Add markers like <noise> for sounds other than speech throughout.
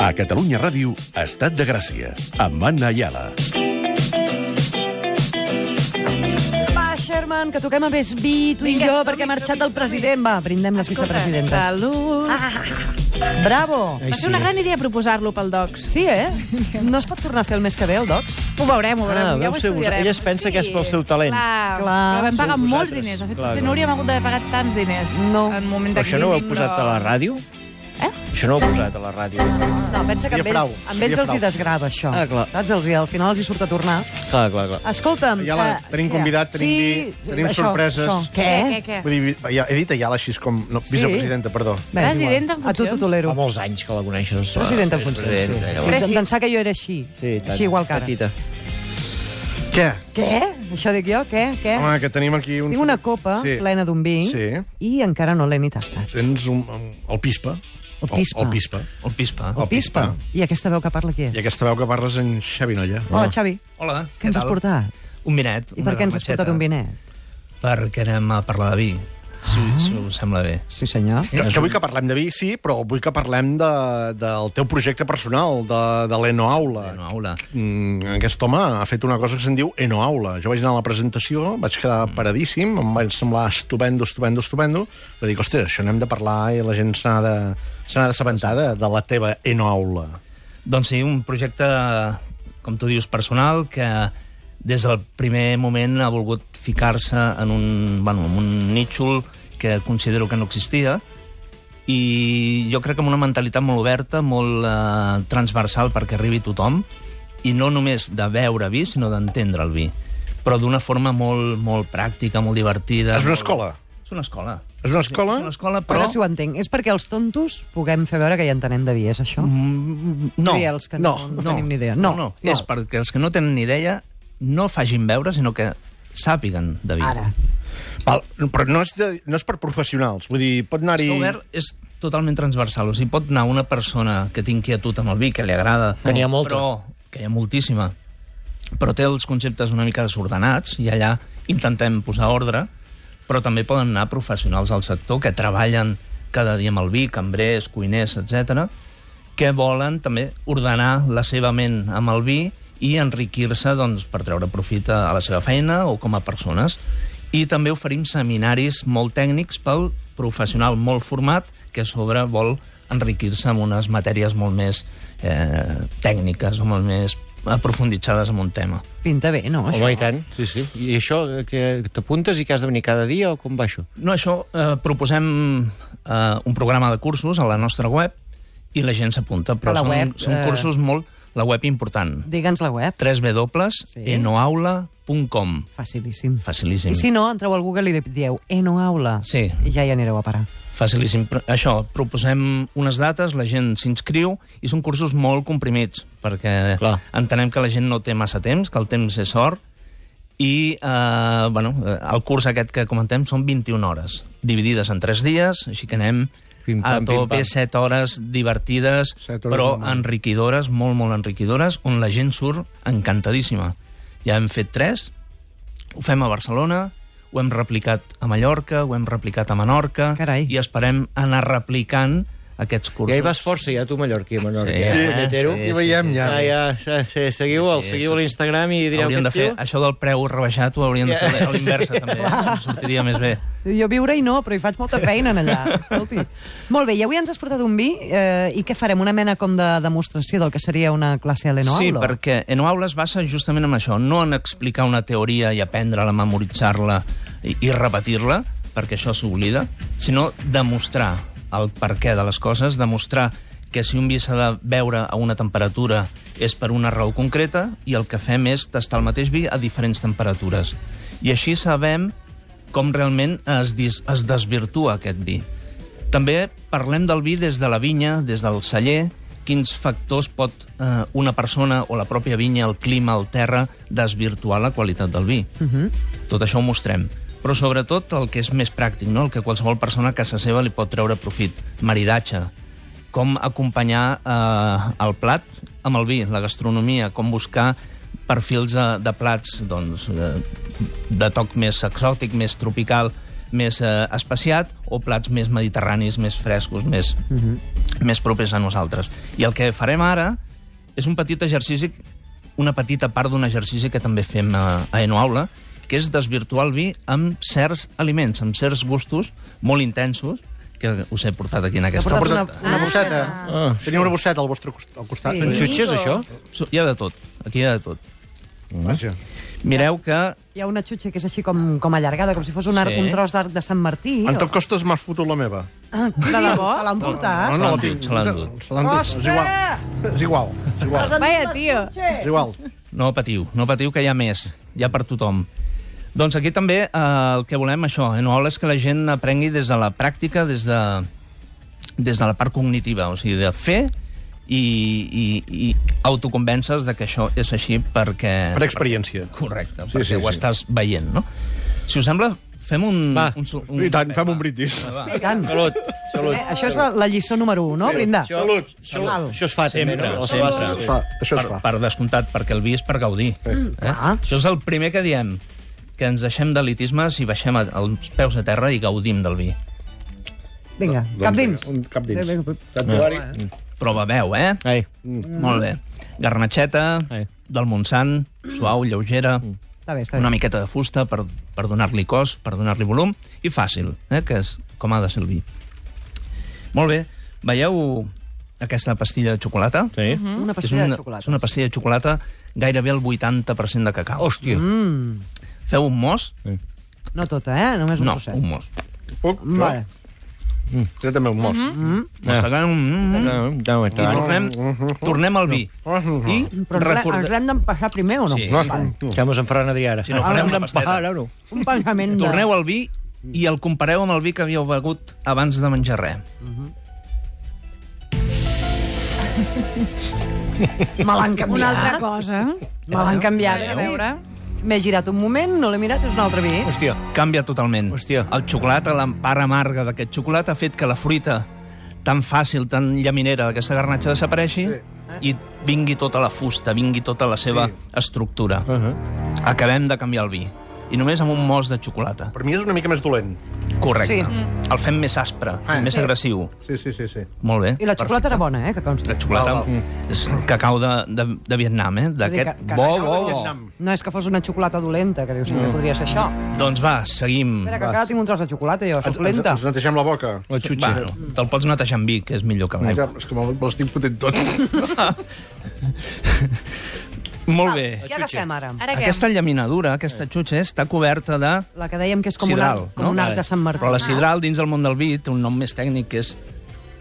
A Catalunya Ràdio, Estat de Gràcia, amb Anna Ayala. Va, Sherman, que toquem a més vi, tu i Vinga, jo, som-hi, perquè ha marxat som-hi, el president. Va, brindem les vicepresidentes. salut. Ah, Bravo! va ser una gran idea proposar-lo pel Docs. Sí, eh? No es pot tornar a fer el més que bé, el Docs? Ho veurem, ho veurem. Ah, ja vau ho ser vos- estudiarem. ella es pensa que és pel seu talent. Clar, Clar. clar. vam pagar Sou molts vosaltres. diners. De fet, Clar, potser no. no hauríem hagut d'haver pagat tants diners No. en un moment de Però crisi. això no ho heu posat a la ràdio? Eh? Això no ho heu posat a la ràdio? No, pensa que amb Seria ells, frau, amb seria ells els frau. hi desgrava, això. Ah, clar. Saps? Els hi, al final els hi surt a tornar. Clar, clar, clar. Escolta'm... Ayala, que- tenim què? convidat, tenim sí, vi, tenim això, sorpreses. Això. Què, Què? què, què? Vull dir, ja, he dit Ayala així com... No, Sí. Vicepresidenta, perdó. Bé, és Presidenta igual. en A tu t'ho funcions. Fa tolero. molts anys que la coneixes. Presidenta en És funcions. presidenta, Sí, llavors. Però sí. sí. Pensar que jo era així. tant, així igual que ara. Petita. Què? Què? Això dic jo? Què? Què? Home, que tenim aquí un... Tinc una copa sí. plena d'un vi Sí. i encara no l'he ni tastat. Tens un, un- el pispa. El pispa. El, el pispa. El pispa. Oh. El pispa. I aquesta veu que parla qui és? Oh, I aquesta veu que parles en Xavi Nolla. Hola, Xavi. Hola, Què ens has portat? Un vinet. I per què ens has portat un vinet? Ah. Perquè anem a parlar de vi, si, si us sembla bé. Sí, senyor. Jo, jo vull que parlem de vi, sí, però vull que parlem de, del teu projecte personal, de, de l'Enoaula. Bueno, aula. Mm, aquest home ha fet una cosa que se'n diu Enoaula. Jo vaig anar a la presentació, vaig quedar Mm. paradíssim, em va semblar estupendo, estupendo, estupendo. Vaig dir, hòstia, això n'hem de parlar i la gent se n'ha de, se n'ha d'assabentar de, de la teva Enoaula. Doncs sí, un projecte, com tu dius, personal, que des del primer moment ha volgut ficar-se en un, bueno, en un nítxol que considero que no existia i jo crec que amb una mentalitat molt oberta, molt eh, transversal perquè arribi tothom i no només de beure vi, sinó d'entendre el vi però d'una forma molt, molt pràctica, molt divertida. És una molt- escola? És una escola. És una escola? És una escola, Però... però... Ara si ho entenc. És perquè els tontos puguem fer veure que ja entenem de vi, és això? Mm, No, Vull dir, els que no- no tenim ni idea. No, no, no, no. és perquè els que no tenen ni idea no facin veure, sinó que sàpiguen de vida. Ara. Val, però no és, de, no és per professionals, vull dir, pot anar-hi... Està obert, és totalment transversal. O sigui, pot anar una persona que té inquietud amb el vi, que li agrada... Que n'hi ha molta. Però, que hi ha moltíssima. Però té els conceptes una mica desordenats i allà intentem posar ordre, però també poden anar professionals del sector que treballen cada dia amb el vi, cambrers, cuiners, etc que volen també ordenar la seva ment amb el vi i enriquir-se doncs, per treure profit a a la seva feina o com a persones. I també oferim seminaris molt tècnics pel professional molt format que a sobre vol enriquir-se amb unes matèries molt més eh, tècniques o molt més aprofunditzades en un tema. Pinta bé, no? Això? Home, i tant. Sí, sí. I això, eh, que t'apuntes i que has de venir cada dia o com va això? No, això, eh, proposem eh, un programa de cursos a la nostra web i la gent A s'apunta, però la són, web, són eh, cursos molt... La web important. Digue'ns la web. www.enoaula.com Facilíssim. Facilíssim. I si no, entreu al Google i li dieu Enoaula. Sí. I ja hi anireu a parar. Facilíssim. Però Això, proposem unes dates, la gent s'inscriu i són cursos molt comprimits perquè Clar. entenem que la gent no té massa temps, que el temps és sort i eh, bueno, eh, el curs aquest que comentem són 21 hores, dividides en 3 dies, així que anem Pim, pam, a pim, tope pam. 7 hores divertides, Set hores però molt maco. enriquidores, molt, molt enriquidores, on la gent surt encantadíssima. Ja hem fet 3, ho fem a Barcelona, ho hem replicat a Mallorca, ho hem replicat a Menorca, Carai. i esperem anar replicant aquests cursos. Ja hi vas força, ja tu, a Mallorca i a Menorca. Sí, ja, eh? punyetero. Sí, Hi veiem, ja. Ah, ja, sí, sí, seguiu-el, Sí, sí, seguiu sí. a l'Instagram i direu Hauríem de fer aquest tio... això del preu rebaixat, ho hauríem de Ja. fer a l'inversa, també. Em sortiria més bé. Jo viure i no, però hi faig molta feina en allà. Escolti. Molt bé, i avui ens has portat un vi eh, i què farem? Una mena com de demostració del que seria una classe a l'Enoaula? Sí, perquè en aula es basa justament en això, no en explicar una teoria i aprendre-la, memoritzar-la i, i repetir-la, perquè això s'oblida, sinó demostrar el per què de les coses, demostrar que si un vi s'ha de beure a una temperatura és per una raó concreta i el que fem és tastar el mateix vi a diferents temperatures. I així sabem com realment es, dis, es desvirtua aquest vi. També parlem del vi des de la vinya, des del celler, quins factors pot eh, una persona o la pròpia vinya, el clima, el terra, desvirtuar la qualitat del vi. Uh -huh. Tot això ho mostrem. Però sobretot el que és més pràctic, no? el que qualsevol persona a casa seva li pot treure profit. Maridatge, com acompanyar eh, el plat amb el vi, la gastronomia, com buscar perfils de, de plats doncs, de, de toc més exòtic, més tropical, més eh, espaciat, o plats més mediterranis, més frescos, més... més propers a nosaltres. I el que farem ara és un petit exercici, una petita part d'un exercici que també fem a, a Enoaula, que és desvirtuar el vi amb certs aliments, amb certs gustos molt intensos, que us he portat aquí en aquesta... portat Una, una Ah. bosseta. Ah. Tenia una bosseta al vostre cost- al costat. Sí. En xutxes, això? So- Hi ha de tot, aquí hi ha de tot. Ah, Vaja. Mireu que... Hi ha una xutxa que és així com, com allargada, com si fos un, arc, Sí. un tros d'arc de Sant Martí. En o- tot costes m'has fotut la meva. Ah, de debò? Se l'han portat? no. la l'han tinc. dut, se l'han dut. Se l'han dut. És igual. És igual. És igual. Vaya, tio. És igual. No patiu, no patiu, que hi ha més. Hi ha per tothom. Doncs aquí també eh, el que volem, això, eh, no és que la gent aprengui des de la pràctica, des de, des de la part cognitiva, o sigui, de fer i, i, i autoconvèncer de que això és així perquè... Per experiència. Correcte, Sí, perquè sí, ho sí. estàs veient, no? Si us sembla, fem un... Va, un, sol- I tant, fem un brindis. Va, I tant. Salut, salut. Eh, això és la, la lliçó número 1, no, Brindar? Salut, salut. Això es fa sempre. no? a les Sí. quatre. Es fa, això per, es fa. Ah. per descomptat, perquè el vi és per gaudir. Mm, eh? clar. Això és el primer que diem, que ens deixem d'elitismes i baixem a- als peus a terra i gaudim del vi. Vinga, Doncs cap dins. Un cap dins. Eh, vinga, Tatuari. Però beveu, eh? Ai, Mm. Molt bé. Garnatxeta, Ai. del Montsant, suau, lleugera, mm. Està bé, està una bé. miqueta de fusta per, per donar-li cos, per donar-li volum, i fàcil, eh? que és com ha de ser el vi. Molt bé, veieu aquesta pastilla de xocolata? sí. Una És pastilla una, de xocolata. és una pastilla de xocolata gairebé el 80% de cacau. Hòstia. Feu un mos? No tota, eh? Només un No, trosset. un mos. Puc? Jo? Vale. Jo també un mos. Ah. Mos tagant un... Mm. Ah, I tornem, tornem al vi. I Però ens l'hem- ens recordem... l'hem d'empassar primer o no? Sí. Vale. Estamos en Ferran Adrià, ara. Si no, farem una pasteta. no. Un pensament de... Torneu al vi i el compareu amb el vi que havíeu begut abans de menjar res. Me l'han canviat. Una altra cosa. Me l'han canviat. eh? A veure. M'he girat un moment, no l'he mirat, és un altre vi. Hòstia. Canvia totalment. Hòstia. El xocolata, l'empara amarga d'aquest xocolata ha fet que la fruita tan fàcil, tan llaminera d'aquesta garnatxa desapareixi i vingui tota la fusta, vingui tota la seva estructura. Acabem de canviar el vi. I només amb un mos de xocolata. Per mi és una mica més dolent. Correcte. Sí. Mm. Sí. El fem més aspre, Ah, més sí. agressiu. Sí, sí, sí. sí. Molt bé. I la xocolata era bona, eh, que consta. La xocolata Val, és cacau de, de, de Vietnam, eh? Vull D'aquest dir que- que bo, cacau bo, Vietnam. bo. No és que fos una xocolata dolenta, que dius, també podria ser això. Doncs va, seguim. Espera, que encara tinc un tros de xocolata, jo, Ens, ens, suplenta. ens netegem la boca. La Va, xutxa. te'l pots netejar amb vi, que és millor que amb Ja, l'aigua. és que me l'estic fotent tot. Molt bé. Què agafem ara? Ara què? Aquesta llaminadura, aquesta xutxa, està coberta de La que dèiem que és com, un, sidral. arc, com no? un arc de Sant Martí. Però la sidral, dins del món del vi, té un nom més tècnic, que és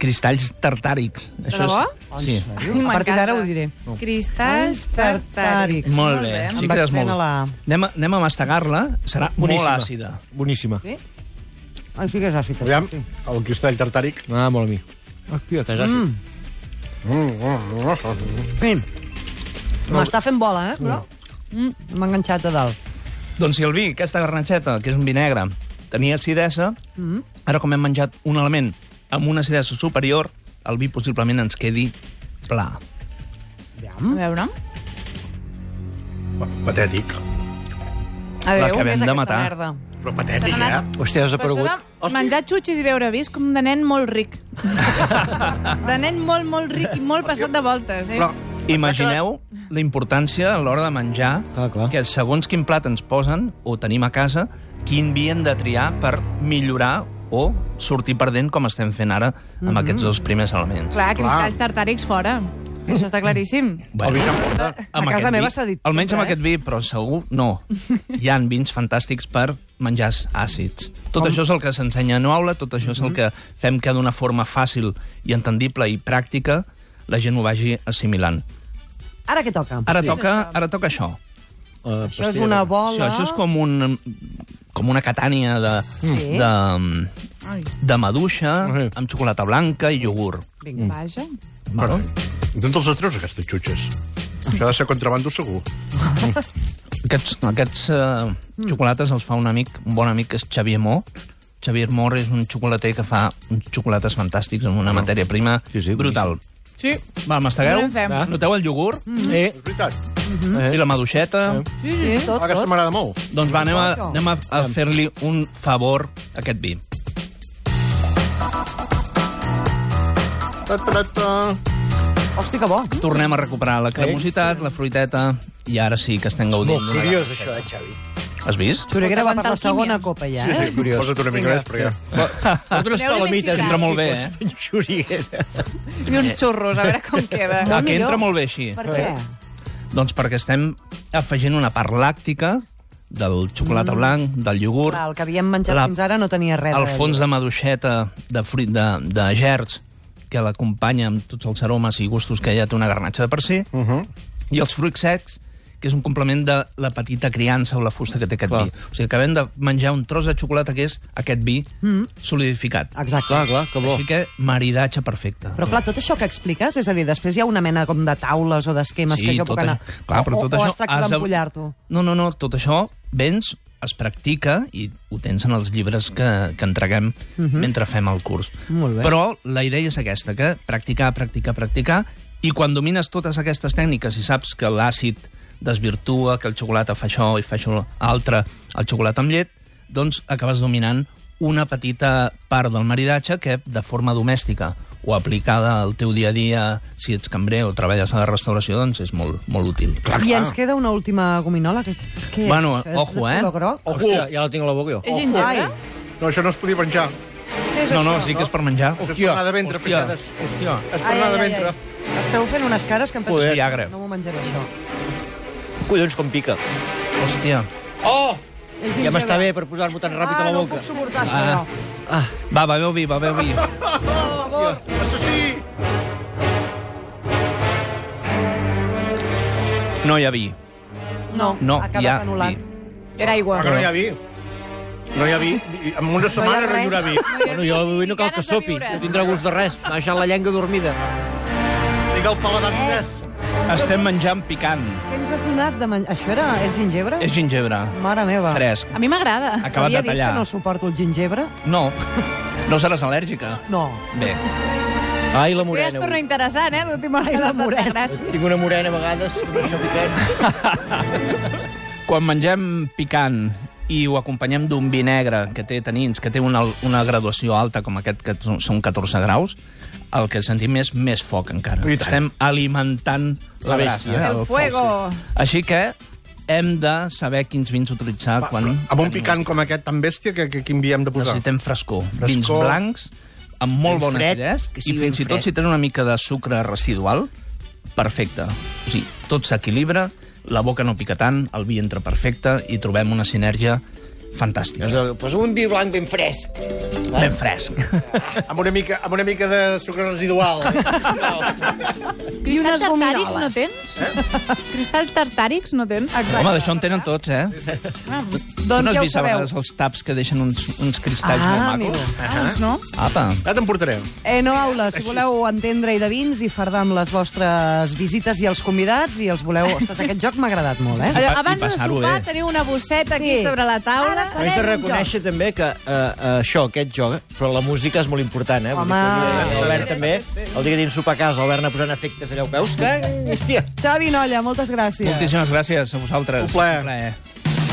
cristalls tartàrics. debò? Doncs És... Sí. Ah, A partir d'ara ho diré. Cristalls tartàrics. Molt bé. Em Sí que és vaccina molt... la- Anem, a, anem a mastegar-la. Serà Boníssima. molt àcida. Boníssima. Ah, sí que és àcid. Aviam, el cristall tartàric. Ah, molt a mi. Hòstia, que és Mm. àcid. Sí. M'està fent bola, eh? Però... Mm. M'ha enganxat a dalt. Doncs si el vi, aquesta garnatxeta, que és un vi negre, tenia acidesa, Mm. ara com hem menjat un element amb una acidesa superior, el vi possiblement ens quedi pla. A veure. Patètic. Adéu, què L'acabem és de aquesta matar. Merda. Però patètic, eh? Hòstia, has Però això desaparegut. de menjar xutxis i beure vi és com de nen molt ric. <laughs> de nen molt, molt ric i molt passat de voltes. Però, Imagineu la importància a l'hora de menjar, Clar, clar. que segons quin plat ens posen, o tenim a casa, quin vi hem de triar per millorar o sortir perdent, com estem fent ara amb Mhm. aquests dos primers elements. Clar, cristalls tartàrics fora. Això està claríssim. el vi que em porta... Amb A casa aquest meva vi- s'ha dit Almenys amb sempre, eh? aquest vi, però segur no. Hi han vins fantàstics per menjars àcids. Tot això és el que s'ensenya a no aula, tot això és el Mm-hmm. que fem que d'una forma fàcil i entendible i pràctica la gent ho vagi assimilant. Ara què toca? Ara toca, ara toca això. Uh, Això és una Això, bola... això és com un com una catània de, Sí. de, Ai, de maduixa Sí. amb xocolata blanca i iogurt. Vinga. Mm. vaja. Val? D'on te'ls treus, aquestes xutxes? Això ha de ser contrabando segur. Aquests, aquests uh, Mm. xocolates els fa un amic, un bon amic, que és Xavier Mor. Xavier Mor és un xocolater que fa uns xocolates fantàstics amb una matèria prima Sí, sí, brutal. Sí, Va, Ara mastegueu, en fem. Mm-hmm. Va. noteu el iogurt Eh, És veritat. i la maduixeta. sí, sí. Sí, tot, Ah, Aquesta tot. m'agrada molt. Doncs va, anem a, anem a, a fer-li un favor a aquest vi. Ta-ta-ta-ta. Hosti, que bo. Tornem a recuperar la cremositat, la fruiteta, i ara sí que estem gaudint. Molt curiós, això, eh, Xavi? Has vist? Xuriguera va per aguantar la el químia. segona copa ja, Sí, eh? sí, Curiós. posa't una mica Vinga. més, perquè... Unes Veure palomites. si Entra molt <laughs> bé, eh? Xuriguera. I uns xurros, a veure com queda. Ah, que entra molt bé així. Per què? Doncs perquè estem afegint una part làctica del xocolata blanc, Mm. del iogurt, Clar, el que havíem menjat La- fins ara no tenia res. el de- fons de maduixeta de fruit de, de gerds que l'acompanya amb tots els aromes i gustos que ja té una garnatxa de per si, uh -huh. i els fruits secs, que és un complement de la petita criança o la fusta que té aquest Clar. vi. O sigui, acabem de menjar un tros de xocolata que és aquest vi solidificat. Exacte. Clar, clar, que bo. Així que maridatge perfecte. Però clar, tot això que expliques, és a dir, després hi ha una mena com de taules o d'esquemes que jo puc tot anar... això. Clar, però o, tot o, això o es tracta has de- d'empollar-t'ho. No, no, no, tot això vens, es practica i ho tens en els llibres que, que entreguem uh -huh. mentre fem el curs. Mhm. Molt bé. Però la idea és aquesta, que practicar, practicar, practicar, i quan domines totes aquestes tècniques i saps que l'àcid desvirtua, que el xocolata fa això i fa això altre, el xocolata amb llet, doncs acabes dominant una petita part del maridatge que de forma domèstica o aplicada al teu dia a dia, si ets cambrer o treballes a la restauració, doncs és molt, molt útil. I ens queda una última gominola. Que, que Bueno, és ojo, de eh? color groc? Hòstia, ja la tinc a la boca jo. És gingebre? No, això no es podia penjar. No, no, sí que és per menjar. Això és tornar de ventre, fritades. hòstia. És Ai, tornar de ai, ai, ventre. ai. Esteu fent unes cares que em Joder. penso... Viagra. No m'ho menjaré, això. Collons, com pica. Hòstia. Oh! És Ja m'està gingebre. bé per posar-m'ho tan ràpid ah, a la no boca. puc suportar Ah. això. Ah. Va, va, beu vi, va, beu vi. Assassí! No hi ha vi. No, No, ha hi ha acabat anul·lant. vi. Era aigua. Ah, que no hi ha vi. No hi ha vi. I En una setmana no hi haurà vi. Bueno, jo avui no cal que Ganes de sopi, viure. no tindrà gust de res. M'ha deixat la llengua dormida. Digue el paladar fresc. Estem menjant picant. Què ens has donat de menjar? Això era... És gingebre? És gingebre. Mare meva. Fresc. A mi m'agrada. Acabat Havia de dit tallar. que no suporto el gingebre? No. No seràs al·lèrgica. No. Bé. Ai, la Això ja es morena. torna avui. interessant, eh? L'última hora. la de morena. Gràcies. Tinc una morena a vegades, una xapicant. Quan mengem picant i ho acompanyem d'un vi negre que té tanins, que té una, una graduació alta com aquest, que són- són 14 graus, el que sentim és més foc encara. I tant. Estem alimentant la, La bèstia. bèstia. Ah, eh? oh, El fuego. Així que hem de saber quins vins utilitzar Va, quan... Amb un picant com aquest tan bèstia, que, que quin vi hem de posar? Necessitem frescor. Frescor. Vins blancs, amb molt Ben bona fred, acidès, que i sigui fins ben i tot fred. si tenen una mica de sucre residual, perfecte. O sigui, tot s'equilibra, la boca no pica tant, el vi entra perfecte i trobem una sinergia fantàstica. Doncs, eh, Posa un vi blanc ben fresc. Ben fresc. Amb una mica, amb una mica de sucre <laughs> residual. I unes Cristalls tartàrics no gominoles. tens? Eh? Cristalls tartàrics no tens? Ah, Exacte. Home, d'això en tenen tots, eh? Tu no Doncs has ja ho vist a sabeu. vegades els taps que deixen uns, uns cristalls Ah, molt macos? amigo. Doncs no. Apa. Ja te'n portaré. Eh, no, aula, si voleu entendre i de vins i fardar amb les vostres visites i els convidats i els <laughs> voleu... Ostres, aquest joc m'ha agradat molt, eh? Allò, pa- i abans de passar-ho sopar bé. teniu una bosseta aquí Sí. sobre la taula. Ara farem Però Haig de un reconèixer també que eh, eh, això, aquest joc, eh, però la música és molt important, eh? Vull dir Home. que L'Albert també, el dia que tens sopar a casa, l'Albert anar posant efectes allà, ho veus? Hòstia! joc. Xavi Nolla, moltes gràcies. Moltíssimes gràcies a vosaltres. Un plaer. plaer.